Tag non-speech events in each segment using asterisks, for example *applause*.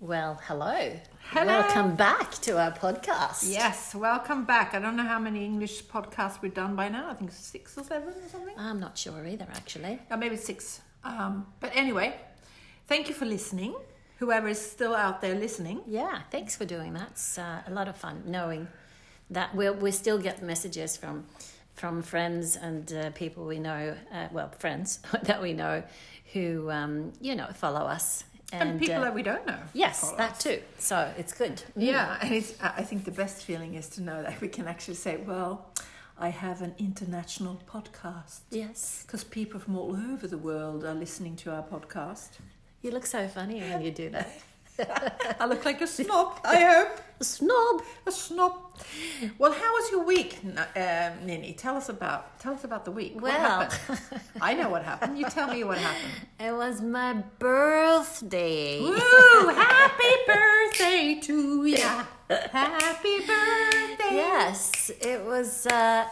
Well, hello. Hello. Welcome back to our podcast. Yes, welcome back. I don't know how many English podcasts we've done by now. I think six or seven or something. I'm not sure either, actually. Or maybe six. Um, but anyway, thank you for listening. Whoever is still out there listening. Yeah, thanks for doing that. It's uh, a lot of fun knowing that we're, we still get messages from from friends and uh, people we know, uh, well, friends *laughs* that we know who, um, you know, follow us. And, people uh, that we don't know. Yes, follow that us. too. So it's good. Yeah, and it's, I I think the best feeling is to know that we can actually say, well, I have an international podcast. Yes. Because people from all over the world are listening to our podcast. You look so funny when you do that. I look like a snob, *laughs* I hope. Snob. A *laughs* snob. Well, how was your week, N- um, Nini? Tell us about tell us about the week. what Well. *laughs* happened? I know what happened. You tell me what happened. It was my birthday. Woo! Happy birthday to ya! Happy birthday! Yes, it was. Uh,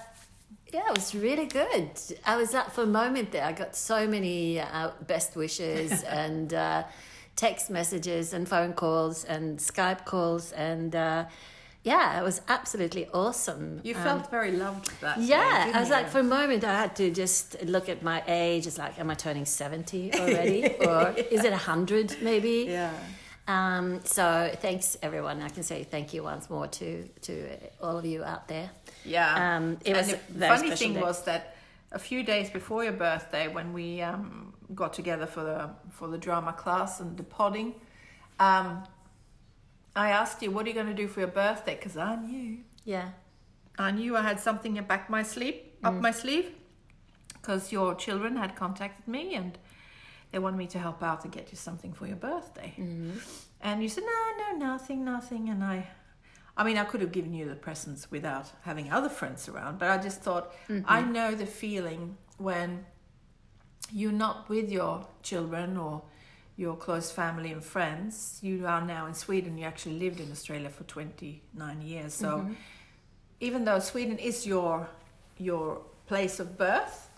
yeah, it was really good. I was up for a moment there. I got so many uh, best *laughs* wishes and uh, text messages and phone calls and Skype calls and uh, yeah, it was absolutely awesome. Uh, You felt very loved that. day, Um, Yeah, didn't I was you? like, for a moment, I had to just look at my age. It's like, am I turning 70 already? *laughs* or is it 100 maybe? Yeah. Um, so thanks, everyone. I can say thank you once more to, to all of you out there. Yeah. Um, it was and a the very funny special thing day. was that a few days before your birthday, when we um, got together for the for the drama class and the podding, um, I asked you, "What are you going to do for your birthday?" Because I knew, Yeah. I knew I had something back my sleeve, up my sleeve, because your children had contacted me and they wanted me to help out and get you something for your birthday. And you said, "No, no, nothing, nothing," and I. I mean, I could have given you the presents without having other friends around, but I just thought Mm-hmm. I know the feeling when you're not with your children or your close family and friends. You are now in Sweden. You actually lived in Australia for 29 years, so Mm-hmm. even though Sweden is your your place of birth,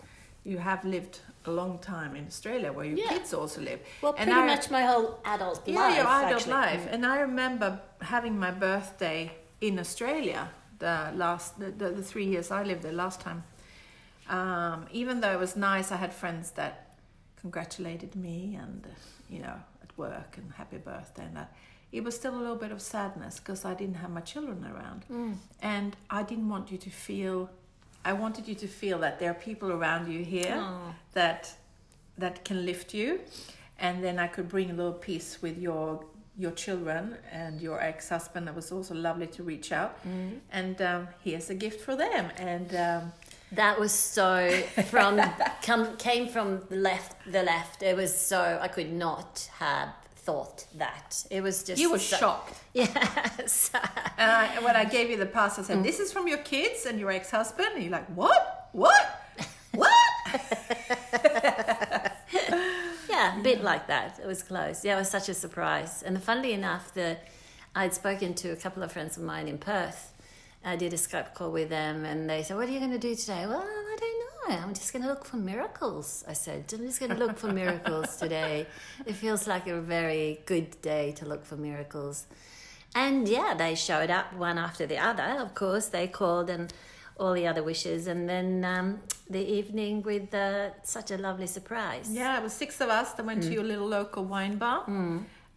you have lived a long time in Australia where your Yeah. kids also live. Well, And pretty I- much my whole adult yeah, life. your adult actually. life. And I remember having my birthday in Australia the last the, the, the three years I lived there last time. Um, even though it was nice, I had friends that congratulated me and uh, you know at work and happy birthday and that. It was still a little bit of sadness because I didn't have my children around, Mm. and I didn't want you to feel. I wanted you to feel that there are people around you here Aw. that that can lift you and then i could bring a little piece with your your children and your ex-husband that was also lovely to reach out and um, here's a gift for them and um, That was *laughs* so from come came from the left the left. It was so I could not have thought that. It was just you were so- shocked *laughs* Yes. and I, when i gave you the past i said this is from your kids and your ex-husband and you're like what what what Yeah, a bit like that. It was close. Yeah, it was such a surprise. And funnily enough, the I'd spoken to a couple of friends of mine in Perth. I did a Skype call with them, and they said, "What are you going to do today?" Well, I don't know. I'm just going to look for miracles. I said, "I'm just going to look for miracles today." It feels like a very good day to look for miracles. And yeah, they showed up one after the other. Of course, they called and all the other wishes, and then um, the evening with uh, such a lovely surprise. Yeah, it was six of us that went Mm. to your little local wine bar.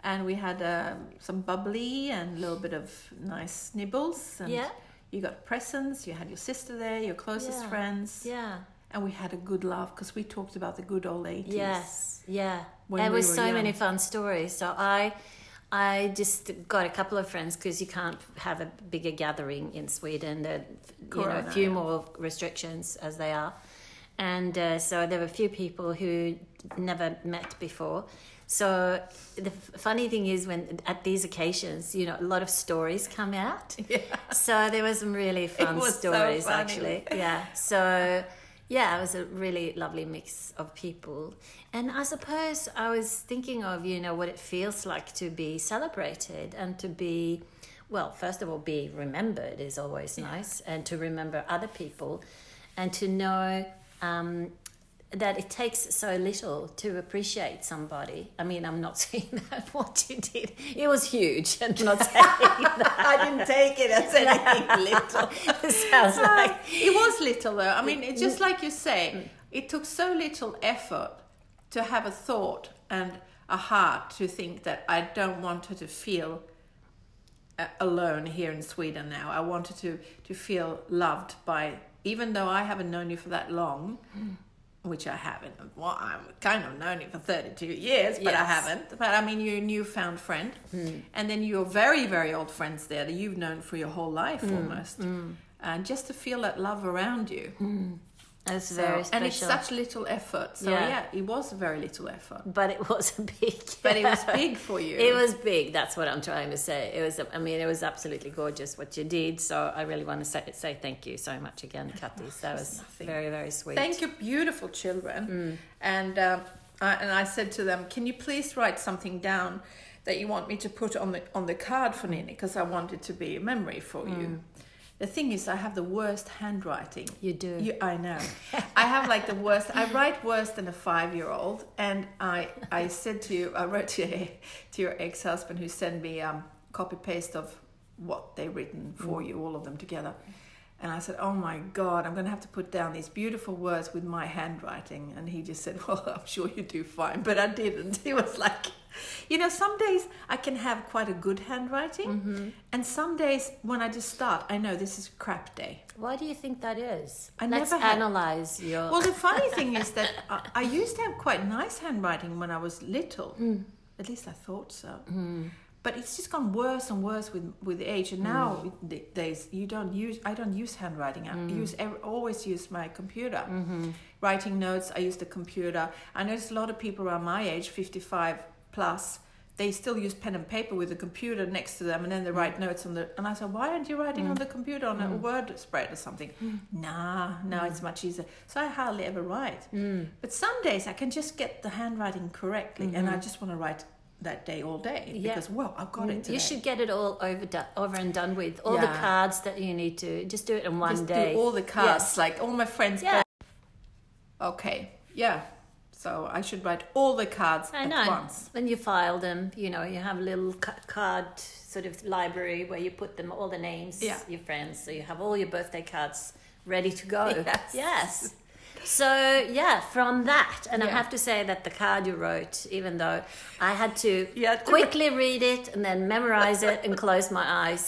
And we had um, some bubbly and a little bit of nice nibbles. And Yeah. you got presents, you had your sister there, your closest Yeah. friends. Yeah. And we had a good laugh because we talked about the good old 80s. Yes. Yeah. When there we was were so many young. fun stories. So I, I just got a couple of friends because you can't have a bigger gathering in Sweden. There, you know, a Corona, few yeah. more restrictions as they are, and uh, so there were a few people who never met before. So the f- funny thing is, when at these occasions, you know, a lot of stories come out. *laughs* Yeah. So there were some really fun was so stories, funny. actually. Yeah. So, yeah, it was a really lovely mix of people. And I suppose I was thinking of, you know, what it feels like to be celebrated and to be, well, first of all, be remembered is always nice, and to remember other people and to know um, that it takes so little to appreciate somebody. I mean, I'm not *laughs* saying that what you did. It was huge. I'm *laughs* not saying that. I didn't take it as anything little. *laughs* it sounds like *laughs* it was little though. I mean, it's just like you say, it took so little effort to have a thought and a heart to think that I don't want her to feel uh, alone here in Sweden now. I wanted to to feel loved by, even though I haven't known you for that long. Which I haven't. Well, I'm kind of known you for 32 years, but Yes. I Hmm. haven't. But I mean, you're a newfound friend. And then your very, very old friends there that you've known for your whole life Hmm. almost. And just to feel that love around you. it's So- Hmm. very special. and it's such little effort. So Yeah. yeah. it was very little *laughs* effort. but it was a big. But it was big for you. *laughs* It was big. That's what I'm trying to say. It was. I mean, it was absolutely gorgeous what you did. So I really want to say, say thank you so much *laughs* again, Katis. That was nothing. very very sweet. Thank you, beautiful children. And um, I, and I said to them, can you please write something down that you want me to put on the on the card for Nini because I want it to be a memory for you. The thing is, I have the worst handwriting. You do. You, I know. I have like the worst. I write worse than a five-year-old. And I, I said to you, I wrote to, your- to your ex-husband who sent me um, copy paste of what they written for you, all of them together. And I said, "Oh my God, I'm going to have to put down these beautiful words with my handwriting." And he just said, *laughs* "Well, I'm sure you do fine," but I didn't. He was like, "You know, some days I can have quite a good handwriting, and some days when I just start, I know this is crap day." Why do you think that is? I Let's never had- analyze your. Well, the funny thing is that I, I used to have quite nice handwriting when I was little. At least I thought so. But it's just gone worse and worse with with age. And now th- days you don't use. I don't use handwriting. I use ev- always use my computer. Writing notes. I use the computer. I notice a lot of people around my age, fifty five plus. They still use pen and paper with the computer next to them, and Mm. then they write notes on the. And I said, "Why aren't you writing on the computer on a word spread or something?" Mm. Nah, now it's much easier. So I hardly ever write. Mm. But some days I can just get the handwriting correctly, and I just want to write that day all day Mm-hmm. Yeah. Mm, because well, I've got it today. you should get it all over, do- over and done with. All the Yeah. cards that you need to just do it in one just day. do all the cards, Yes. like all my friends. Yeah. Okay. Yeah. So I should write all the cards I at know. once. When you file them, you know, you have a little ca- card sort of library where you put them all the names, Yeah. your friends, so you have all your birthday cards ready to go. *laughs* Yes. Yes. So yeah, from that, and I Yeah. have to say that the card you wrote, even though I had to You had to- quickly read it and then memorize it and close my eyes.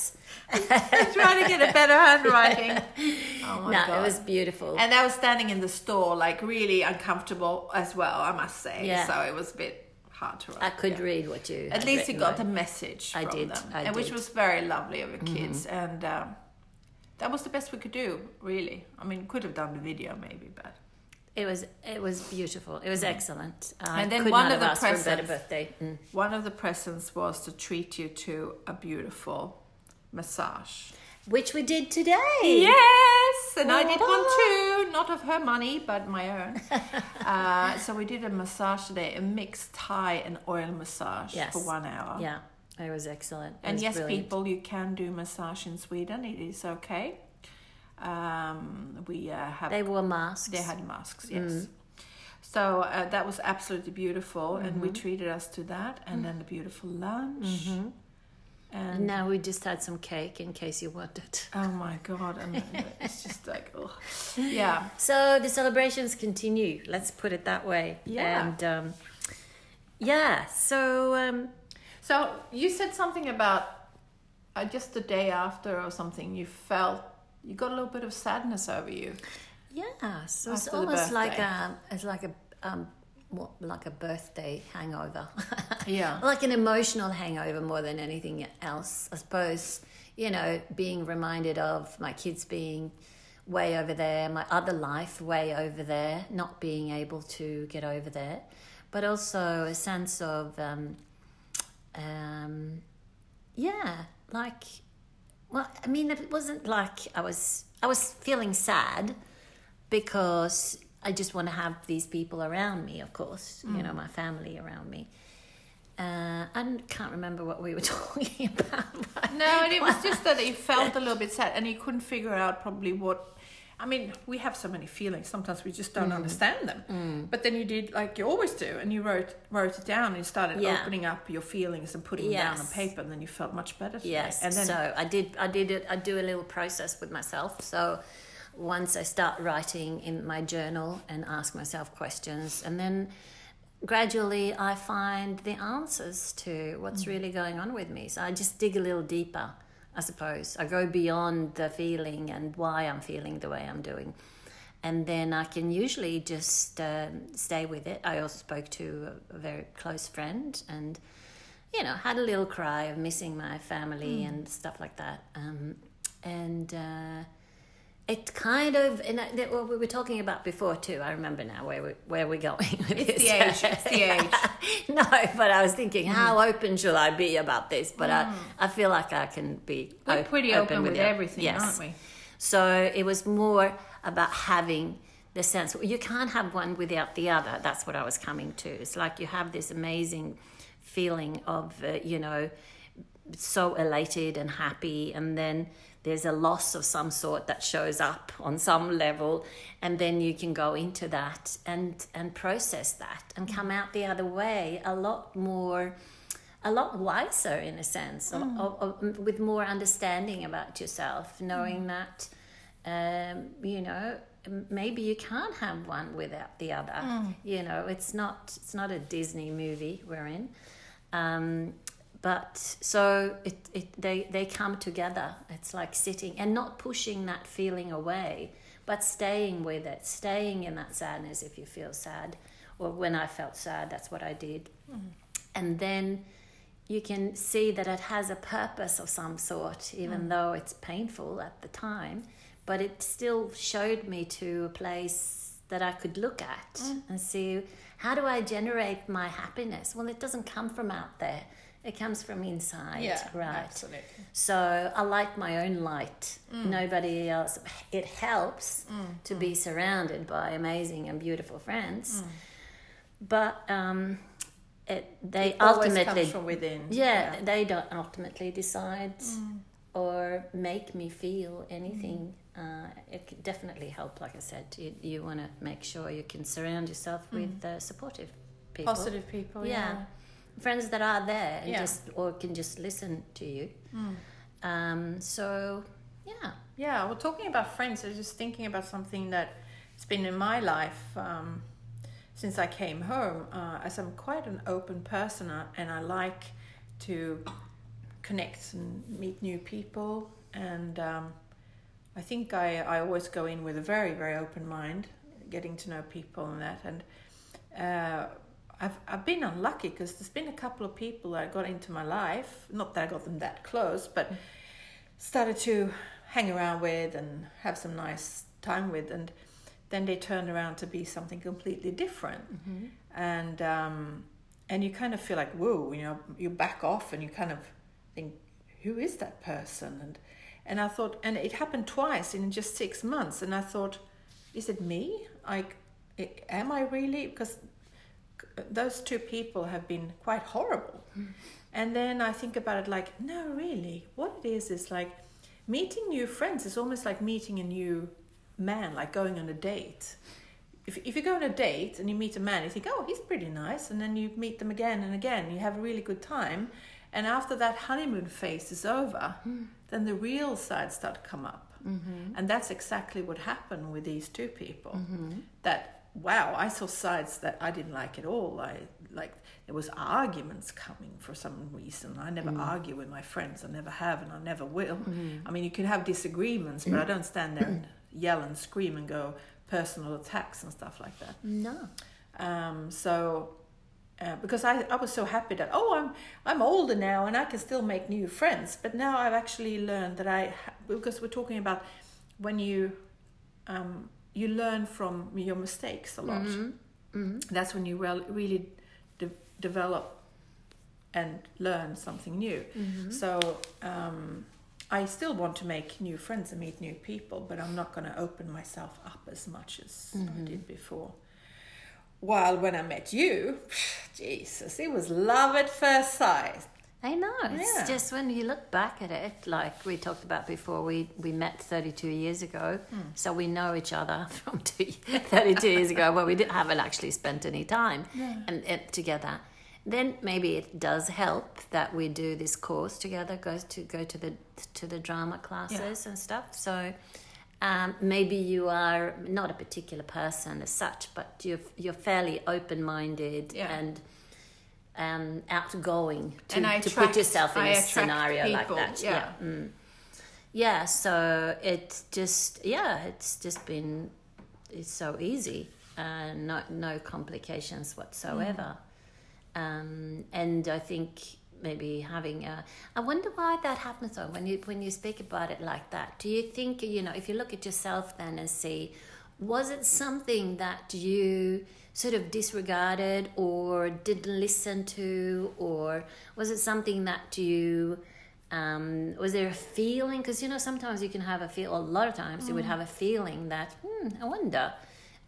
I'm trying to get a better *laughs* handwriting. *laughs* Oh my no, god. it was beautiful. and I was standing in the store, like really uncomfortable as well, I must say. Yeah. So it was a bit hard to write. I could Yeah. read what you. At had least you written got down. a message I from did, them, I and which did. Mm-hmm. was very lovely of the kids, and um, that was the best we could do, really. I mean, could have done the video maybe, but It was it was beautiful. It was excellent. I And then could one not have of the asked for a better presents- birthday. Mm. one of the presents was to treat you to a beautiful massage. Which we did today. Yes, and I did Wow. one too, not of her money, but my *laughs* own. uh, so we did a massage today, a mixed Thai and oil massage Yes. for one hour. Yeah, it was excellent. It And was yes, brilliant. people, you can do massage in Sweden. It is okay. Um, we uh, have They wore masks. they had masks, Mm. yes. So uh, that was absolutely beautiful, and Mm-hmm. we treated us to that, and then a beautiful lunch. And Now we just had some cake in case you wanted. oh my god, and it's just like, oh, yeah. So the celebrations continue. Let's put it that way. Yeah. And um, yeah. So um, So you said something about uh, just the day after or something. You felt you got a little bit of sadness over you. yeah. So it's After the almost like birthday. a it's like a um, what, like a birthday hangover. *laughs* Yeah. like an emotional hangover more than anything else i suppose you know being reminded of my kids being way over there my other life way over there not being able to get over there but also a sense of um, um, yeah like well i mean it wasn't like i was i was feeling sad because i just want to have these people around me of course you know my family around me uh, I can't remember what we were *laughs* talking about. but- No, and it was just that you felt a little bit sad, and you couldn't figure out probably what. I mean, we have so many feelings. Sometimes we just Mm. don't understand them. But then you did like you always do, and you wrote wrote it down. And you started Yeah. opening up your feelings and putting them down on Yes. paper, and then you felt much better. today. Yes. and then so I did. I did it. I do a little process with myself. So once I start writing in my journal and ask myself questions, and then gradually I find the answers to Mm. what's really going on with me. So I just dig a little deeper, I suppose. I go beyond the feeling and why I'm feeling the way I'm doing. And then I can usually just um, stay with it. I also spoke to a a very close friend and you know, had a little cry of missing my family Hmm. and stuff like that. Um, and uh, it kind of, and I, that, what we were talking about before too. I remember now where we where we're going. *laughs* With it's the this. age. It's the age. *laughs* Hmm. no, but I was thinking, how open should I be about this? But I, I feel like I can be. We're op- pretty open, with, it. everything, Yes. aren't we? So it was more about having the sense you can't have one without the other. That's what I was coming to. It's like you have this amazing feeling of, uh, you know, so elated and happy, and then there's a loss of some sort that shows up on some level, and then you can go into that and and process that and come out the other way a lot more a lot wiser in a sense, or, or, or with more understanding about yourself, knowing that, um, you know, m- maybe you can't have one without the other. You know, it's not it's not a Disney movie we're in, um, but so it, it they they come together. It's like sitting and not pushing that feeling away, but staying with it, staying in that sadness if you feel sad, or when I felt sad, that's what I did and then you can see that it has a purpose of some sort, even though it's painful at the time. But it still showed me to a place that I could look at and see how do I generate my happiness? Well, it doesn't come from out there, it comes from inside, right? Absolutely. So I like my own light. Mm. Nobody else. It helps to be surrounded by amazing and beautiful friends, Mm. but um, it, they Always comes ultimately, from within. yeah, they don't ultimately decide Mm. or make me feel anything. Uh, it can definitely help. Like I said, you, you want to make sure you can surround yourself with uh, supportive people Mm. Positive people. yeah. friends that are there and Yeah. just or can just listen to you um so yeah Yeah, well, talking about friends, I was just thinking about something that has been in my life um, since I came home. Uh, as I'm quite an open person uh, and I like to connect and meet new people, and um, I think I, I always go in with a very, very open mind, getting to know people and that. And uh, I've, I've been unlucky because there's been a couple of people that I got into my life, not that I got them that close, but started to hang around with and have some nice time with and then they turned around to be something completely different and um, and you kind of feel like whoa you know you back off and you kind of think who is that person and and I thought and it happened twice in just six months and I thought is it me like i- am I really because those two people have been quite horrible. And then I think about it like, no, really, what it is is like meeting new friends is almost like meeting a new man, like going on a date. If, if you go on a date and you meet a man, you think, oh, he's pretty nice. And then you meet them again and again, you have a really good time. And after that honeymoon phase is over, then the real side start to come up. And that's exactly what happened with these two people. That wow, I saw sides that I didn't like at all. I like there was arguments coming for some reason. I never argue with my friends. I never have, and I never will. I mean, you can have disagreements, but I don't stand there and yell and scream and go personal attacks and stuff like that. no Um, so, uh, because I, I was so happy that oh I'm I'm older now and I can still make new friends. But now I've actually learned that I ha- because we're talking about when you um, you learn from your mistakes a lot. Mm-hmm. That's when you rel- really de- develop and learn something new. So. Um, I still want to make new friends and meet new people, but I'm not going to open myself up as much as I did before. *sighs* While when I met you, Jesus, it was love at first sight. I know. It's Yeah. just when you look back at it, like we talked about before, we, we met 32 years ago, Hmm. so we know each other *laughs* from two, 32 years ago, but we didn't, haven't actually spent any time and, and together. Then maybe it does help that we do this course together, go to go to the to the drama classes and stuff. So um, maybe you are not a particular person as such, but you're you're fairly open minded Yeah. and um, outgoing to, And I to attract- put yourself in I a attract scenario like people, that. yeah. Yeah. mm. Yeah, so it's just yeah, it's just been it's so easy. Uh, no no Mm. complications whatsoever. Um, and I think maybe having a I wonder why that happens though when you when you speak about it like that. Do you think, you know, if you look at yourself then and see was it something that you sort of disregarded or didn't listen to or was it something that you um, was there a feeling because you know sometimes you can have a feel a lot of times you would Mm. have a feeling that hmm i wonder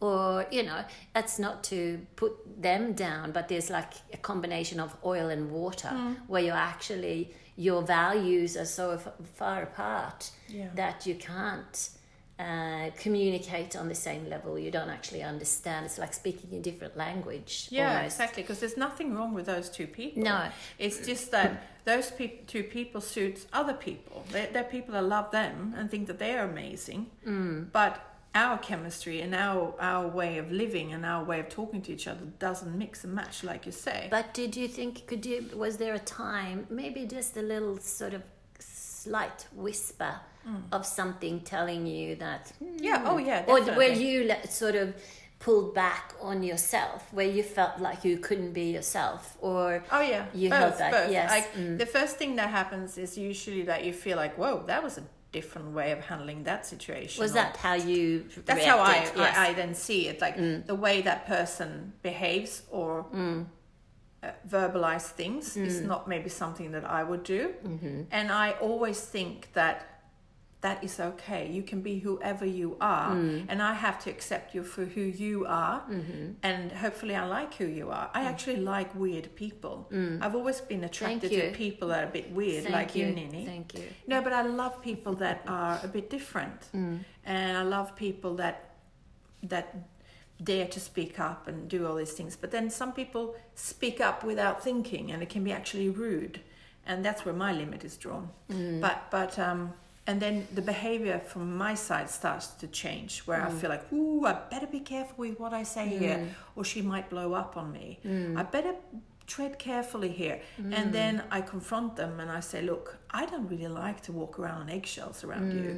or you know that's not to put them down but there's like a combination of oil and water Mm. where you're actually your values are so f- far apart Yeah. that you can't uh, communicate on the same level you don't actually understand it's like speaking a different language Yeah, almost. exactly. Because there's nothing wrong with those two people. No. it's just that those peop two people suits other people. They're, they're people that love them and think that they are amazing. Mm. But our chemistry and our our way of living and our way of talking to each other doesn't mix and match, like you say. But did you think, could you, was there a time, maybe just a little sort of slight whisper of something telling you that? hmm, Hmm. yeah. Oh, yeah. Or Definitely. were you le- sort of pulled back on yourself, where you felt like you couldn't be yourself? Or, Oh yeah, You both, held that, both. yes. Mm. Like the first thing that happens is usually that you feel like, whoa, that was a different way of handling that situation. was or- that how you That's reacted? how I, Yes. Mm. I I then see it, like the way that person behaves or uh, verbalize things is Mm. not maybe something that I would do, Mm-hmm. and I always think that that is okay. You can be whoever you are, Mm. and I have to accept you for who you are, Mm-hmm. and hopefully I like who you are. Mm. I actually like weird people. I've always been attracted to you. people that are a bit weird, Thank like you, you. Nini. Thank you. No, but I love people that are a bit different, and I love people that that dare to speak up and do all these things. But then some people speak up without thinking, and it can be actually rude, and that's where my limit is drawn. But but um, and then the behavior from my side starts to change, where I feel like, ooh, I better be careful with what I say here, or she might blow up on me. I better tread carefully here. And then I confront them and I say, look, I don't really like to walk around on eggshells around you.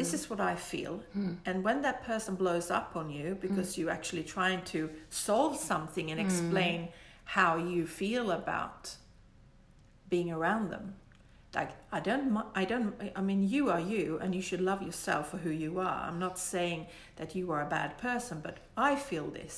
This is what I feel. And when that person blows up on you because you're actually trying to solve something and explain how you feel about being around them. Like I don't, mi- I don't. I mean, you are you, and you should love yourself for who you are. I'm not saying that you are a bad person, but I feel this.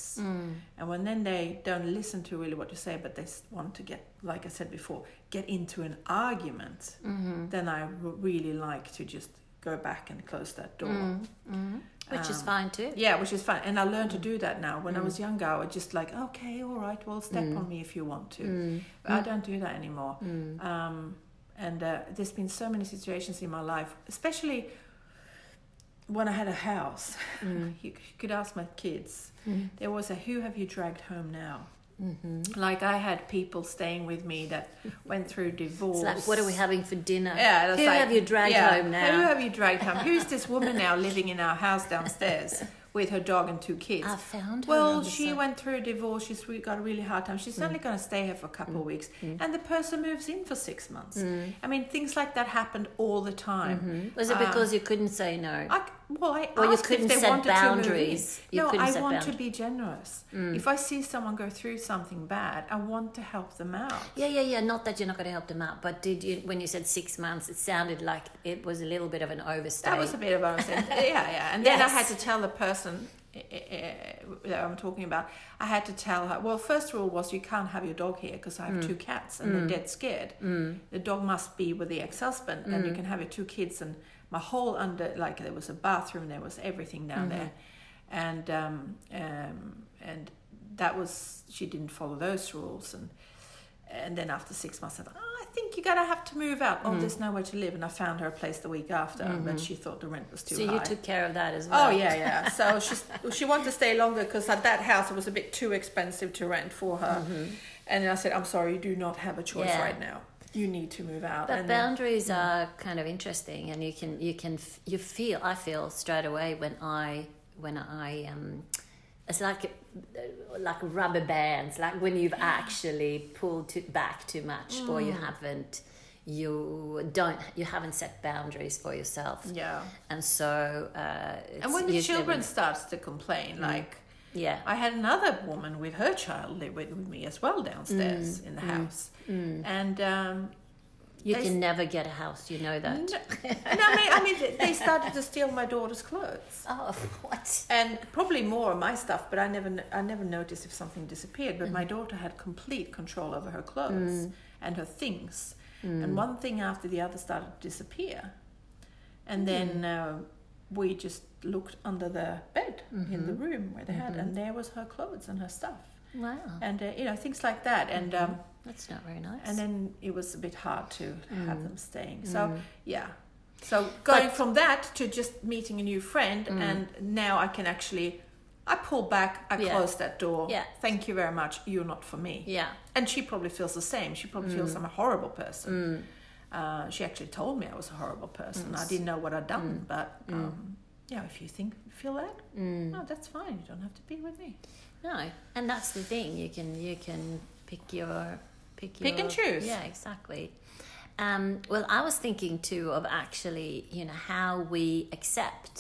And when then they don't listen to really what you say, but they s- want to get, like I said before, get into an argument, Mm-hmm. then I r- really like to just go back and close that door. Mm. Mm-hmm. Um, Which is fine too. Yeah, which is fine. And I learned to do that now. When I was younger, I would just like, okay, all right, well, step on me if you want to. Mm. Mm-hmm. But I don't do that anymore. Um, and uh, there's been so many situations in my life, especially when I had a house. Mm. *laughs* you c- could ask my kids. There was a who have you dragged home now? Like I had people staying with me that went through divorce. Mm-hmm. *laughs* It's like, what are we having for dinner? Yeah, that's Who like- have you dragged yeah, home Who now? have you dragged home? Who's this woman now living in our house downstairs with her dog and two kids? *laughs* I found her Well, on the she side. went through a divorce. She's re- got a really hard time. Mm. She's only going to stay here for a couple of weeks, and the person moves in for six months. Mm. I mean, things like that happened all the time. Ah. Was it because you couldn't say no? I, c- well, I Or Mm-hmm. you asked couldn't if they set wanted boundaries. To move in. You no, couldn't I set Mm. want to bound- be generous. If I see someone go through something bad, I want to help them out. Yeah, yeah, yeah. Not that you're not going to help them out, but did you? When you said six months, it sounded like it was a little bit of an overstay. That was a bit *laughs* of what I was saying. yeah, yeah. And then I had Yes. to tell the person uh, uh, that I'm talking about. I had to tell her. Well, first rule was you can't have your dog here because I have Mm. two cats and they're dead scared. The dog must be with the ex-husband, and Mm. you can have your two kids and my whole under like there was a bathroom, there was everything down Mm-hmm. there, and um, um, and that was she didn't follow those rules and and then after six months, I thought, oh, I think you're gonna have to move out. Mm. Oh, there's nowhere to live, and I found her a place the week after, but she thought the rent was too Mm-hmm. So high. you took care of that as well. Oh yeah, yeah. So she she wanted to stay longer because at that house it was a bit too expensive to rent for her. And I said, I'm sorry, you do not have a choice Mm-hmm. Yeah. right now. You need to move out. But and boundaries are kind of interesting, and you can you can f- you feel I feel straight away when I when I um, it's like uh, like rubber bands, like when you've actually pulled to, back too much, or Mm. you haven't you don't you haven't set boundaries for yourself, yeah. and so uh, it's And when the usually Mm. children starts to complain, like yeah I had another woman with her child live with, with me as well Mm. downstairs in the house, and um, you Mm. they can never get a house, you know that. no, no, I mean, I mean, they- they started to steal my daughter's clothes. Oh, what? and probably more of my stuff but i never kn- i never noticed if something disappeared but my daughter had complete control over her clothes and her things and one thing after the other started to disappear and then uh, we just looked under the bed in the room where they had and there was her clothes and her stuff Wow, and uh, you know things like that and um, that's not very nice. and then it was a bit hard to Mm. have them staying. So yeah. So going from that to just meeting a new friend, Mm. and now I can actually, I pull back, I Yeah. close that door. Yeah. Thank you very much. You're not for me. yeah. Mm. And she probably feels the same. She probably feels I'm a horrible person. Uh, she actually told me I was a horrible person. I didn't know what I'd Mm. done, but um, yeah, if you think feel that, Mm. no, that's fine. You don't have to be with me. No, and that's the thing. You can you can pick your pick, Pick your, and choose. Yeah, exactly. Um, well, I was thinking too of actually, you know, how we accept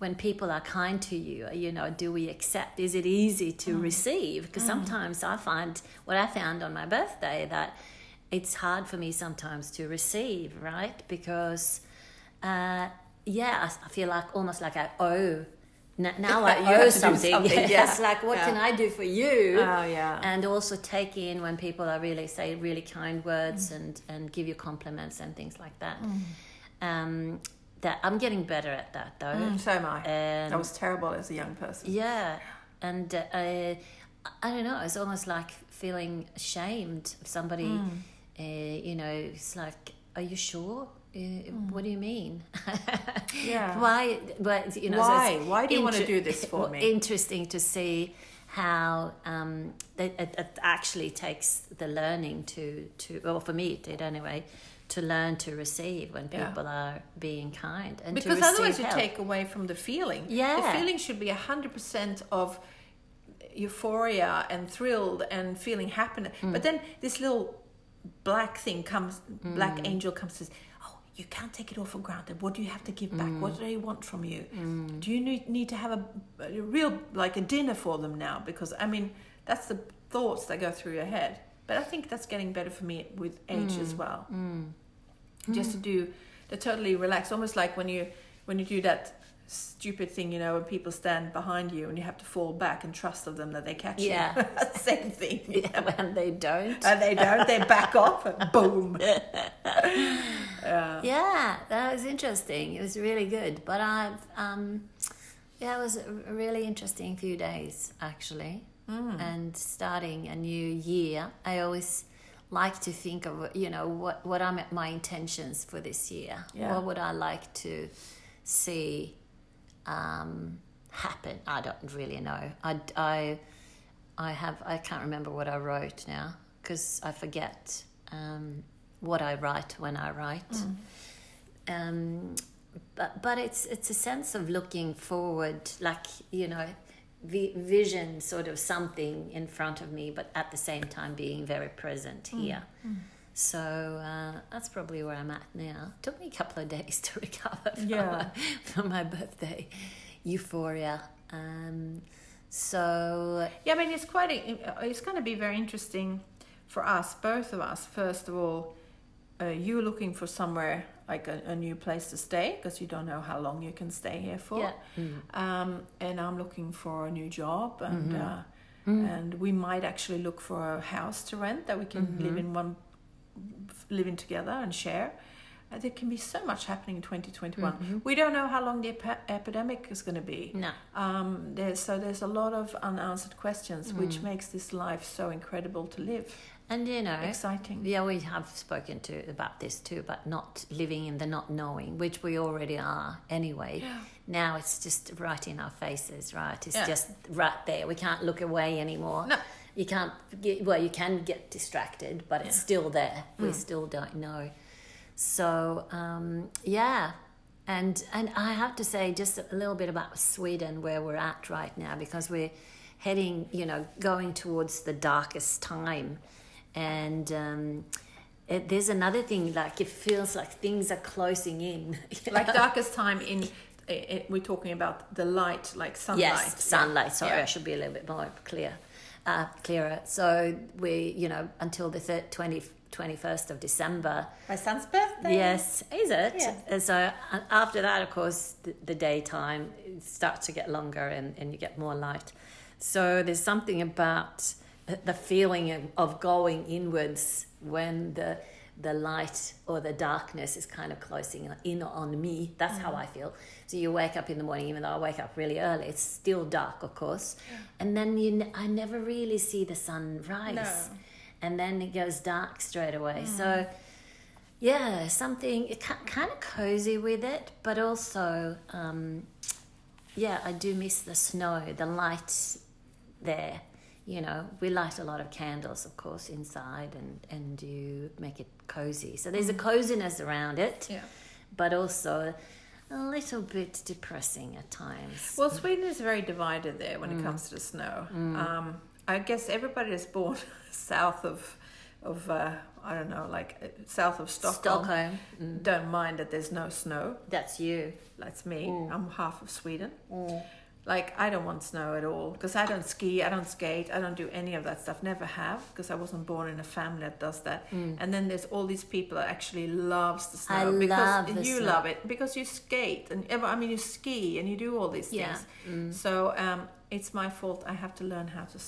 when people are kind to you. uh, You know, do we accept? Is it easy to Mm. receive? Because sometimes I find what I found on my birthday that it's hard for me sometimes to receive, right? Because uh, yeah, I, I feel like almost like I owe. N- now *laughs* I You have owe to do something. something, *laughs* Yes, yeah, like what yeah. can I do for you? Oh, yeah. And also take in when people are really say really kind words Mm. and and give you compliments and things like that. Um, that I'm getting better at that though. Mm, So am I. I And was terrible as a young person. yeah, and uh, I, I don't know. It's almost like feeling ashamed of somebody. Hmm. Uh, you know, it's like, are you sure? Uh, What do you mean? Hmm. *laughs* Yeah. Why? But you know, Why? it's Why do you wanna do this for well, me? Interesting to see how um, it, it, it actually takes the learning to to well for me it did anyway to learn to receive when Yeah. people are being kind and to because receive otherwise you help. take away from the feeling Yeah. the feeling should be 100% of euphoria and thrilled and feeling happy Mm. but then this little black thing comes black Mm. angel comes says oh you can't take it all for granted what do you have to give Mm. back what do they want from you do you need, need to have a, a real like a dinner for them now because i mean that's the thoughts that go through your head but i think that's getting better for me with age Mm. as well just to do the totally relaxed almost like when you when you do that stupid thing you know when people stand behind you and you have to fall back and trust of them that they catch Yeah. you *laughs* same thing you *laughs* *laughs* know. Yeah, when they don't. and they don't they back *laughs* off and boom yeah, that was interesting. It was really good. But I've, um, yeah, it was a really interesting few days actually. And starting a new year, I always like to think of you know what what are my intentions for this year. Yeah. What would I like to see um, happen? I don't really know. I I I have I can't remember what I wrote now because I forget um, what I write when I write. Um, but but it's it's a sense of looking forward, like you know, vi- vision sort of something in front of me, but at the same time being very present here. So uh, that's probably where I'm at now. Took me a couple of days *laughs* to recover from, Yeah. from my birthday euphoria. Um, so yeah i mean it's quite a, it's going to be very interesting for us both of us first of all uh, you looking for somewhere like a, a new place to stay because you don't know how long you can stay here for yeah, um, and I'm looking for a new job, and uh, and we might actually look for a house to rent that we can live in one, live in together and share. Uh, there can be so much happening in 2021. We don't know how long the epi- epidemic is going to be. no, Um, there's, so there's a lot of unanswered questions, which makes this life so incredible to live. And you know, Exciting. yeah, we have spoken to about this too, but not living in the not knowing, which we already are anyway. Yeah. Now it's just right in our faces, right? It's Yeah. just right there. We can't look away anymore. No. You can't get, well, you can get distracted, but it's Yeah. Mm. still there. We still don't know. So, um, yeah. And and I have to say just a little bit about Sweden where we're at right now because we're heading, you know, going towards the darkest time. And um, it, there's another thing like it feels like things are closing in. *laughs* like darkest time in i i we're talking about the light like sunlight Yes, sunlight. Sorry, Yeah. I should be a little bit more clear, uh, clearer. So we, you know, until the thir 20, 21st of December. my son's birthday Yes, is it? Yeah. And so uh, after that, of course, the, the daytime starts to get longer and, and you get more light. So there's something about the- the feeling of, of going inwards when the the light or the darkness is kind of closing in on me. That's how I feel. So you wake up in the morning, even though I wake up really early, it's still dark, of course. And then you, ne- I never really see the sun rise. No. Hmm. And then it goes dark straight away. So yeah, something kind of cozy with it, but also, um, yeah, I do miss the snow, the light there. You know, we light a lot of candles, of course, inside, and and you make it cozy. So there's a coziness around it, Hmm. yeah but also a little bit depressing at times. well sweden is very divided there when it comes to the snow um, i guess everybody is born *laughs* south of of uh, i don't know like uh, south of stockholm, Stockholm, don't mind that there's no snow that's you. that's me Mm. i'm half of sweden like i don't want snow at all because i don't ski i don't skate i don't do any of that stuff never have because i wasn't born in a family that does that and then there's all these people that actually loves the snow Mm. I because love the you snow. love it because you skate and i mean you ski and you do all these Yeah. Mm. things so um, it's my fault i have to learn how to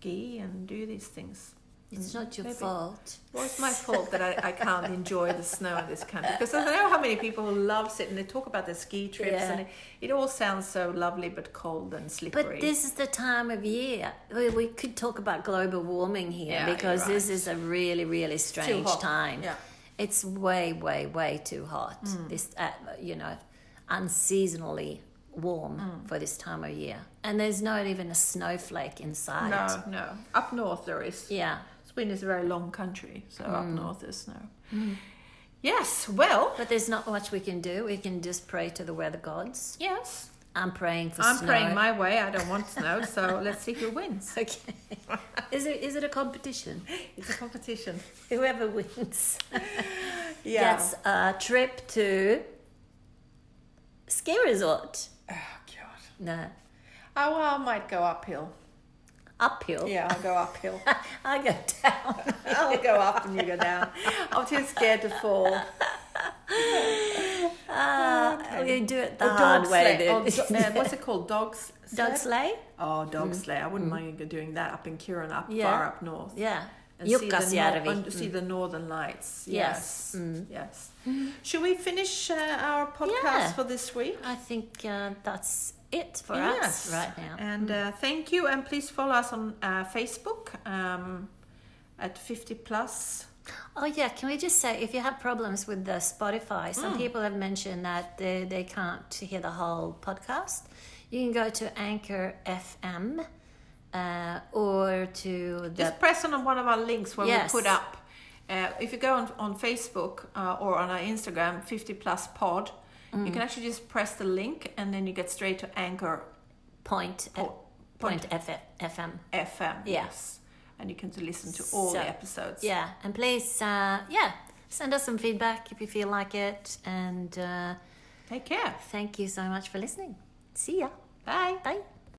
ski and do these things It's not your Mm. maybe. fault. well, it's my fault that I, I can't enjoy the snow in this country because I know how many people who loves it and they talk about their ski trips Yeah. and it, it all sounds so lovely but cold and slippery. But this is the time of year. We, we could talk about global warming here Yeah, you're because this right. is a really, really strange hot. time. Yeah. Mm. It's way, way, way too hot. This, uh, you know, unseasonally warm Mm. for this time of year. And there's not even a snowflake in sight. no, no. Up north there is. Yeah. Mm. Sweden is a very long country, so up north there's snow. Yes, well, But there's not much we can do. We can just pray to the weather gods. yes. I'm praying for I'm snow. praying my way. I don't want snow, so let's see who wins. *laughs* Okay. is, it, is it a *laughs* competition? It's a competition. Whoever wins. Yeah. gets a trip to ski resort. Oh god. No, Oh, well, I might go uphill. uphill. Yeah, I'll go uphill. I go *laughs* down. I'll go up and you go *laughs* down. I'm too scared to fall. Uh, We do it the Or hard Oh, dog way. sled. Or do- then. *laughs* uh, what's it called? Dogs. Dog sleigh? Oh, dog sleigh. I wouldn't mind doing that up in Kiruna, up Yeah. far up north. Yeah. And see the, Jukkasjärvi. nor- and see the northern lights. Yes. Mm. Yes. Mm. Yes. Should we finish uh, our podcast Yeah. for this week? I think uh, that's it for us right now. Mm. And uh, thank you. And please follow us on uh, Facebook um, at 50 plus. Oh yeah, can we just say if you have problems with the Spotify, Mm. some people have mentioned that they, they can't hear the whole podcast. You can go to Anchor FM uh, or to the Just press on one of our links where Yes. we put up. Uh, if you go on, on Facebook uh, or on our Instagram, 50 plus pod, Mm. you can actually just press the link and then you get straight to Anchor Point Po- Point F- FM. FM. Yeah. Yes. And you can listen to all So, the episodes. Yeah, and please, uh, yeah, send us some feedback if you feel like it. And uh, Take care. thank you so much for listening. See ya. Bye. Bye.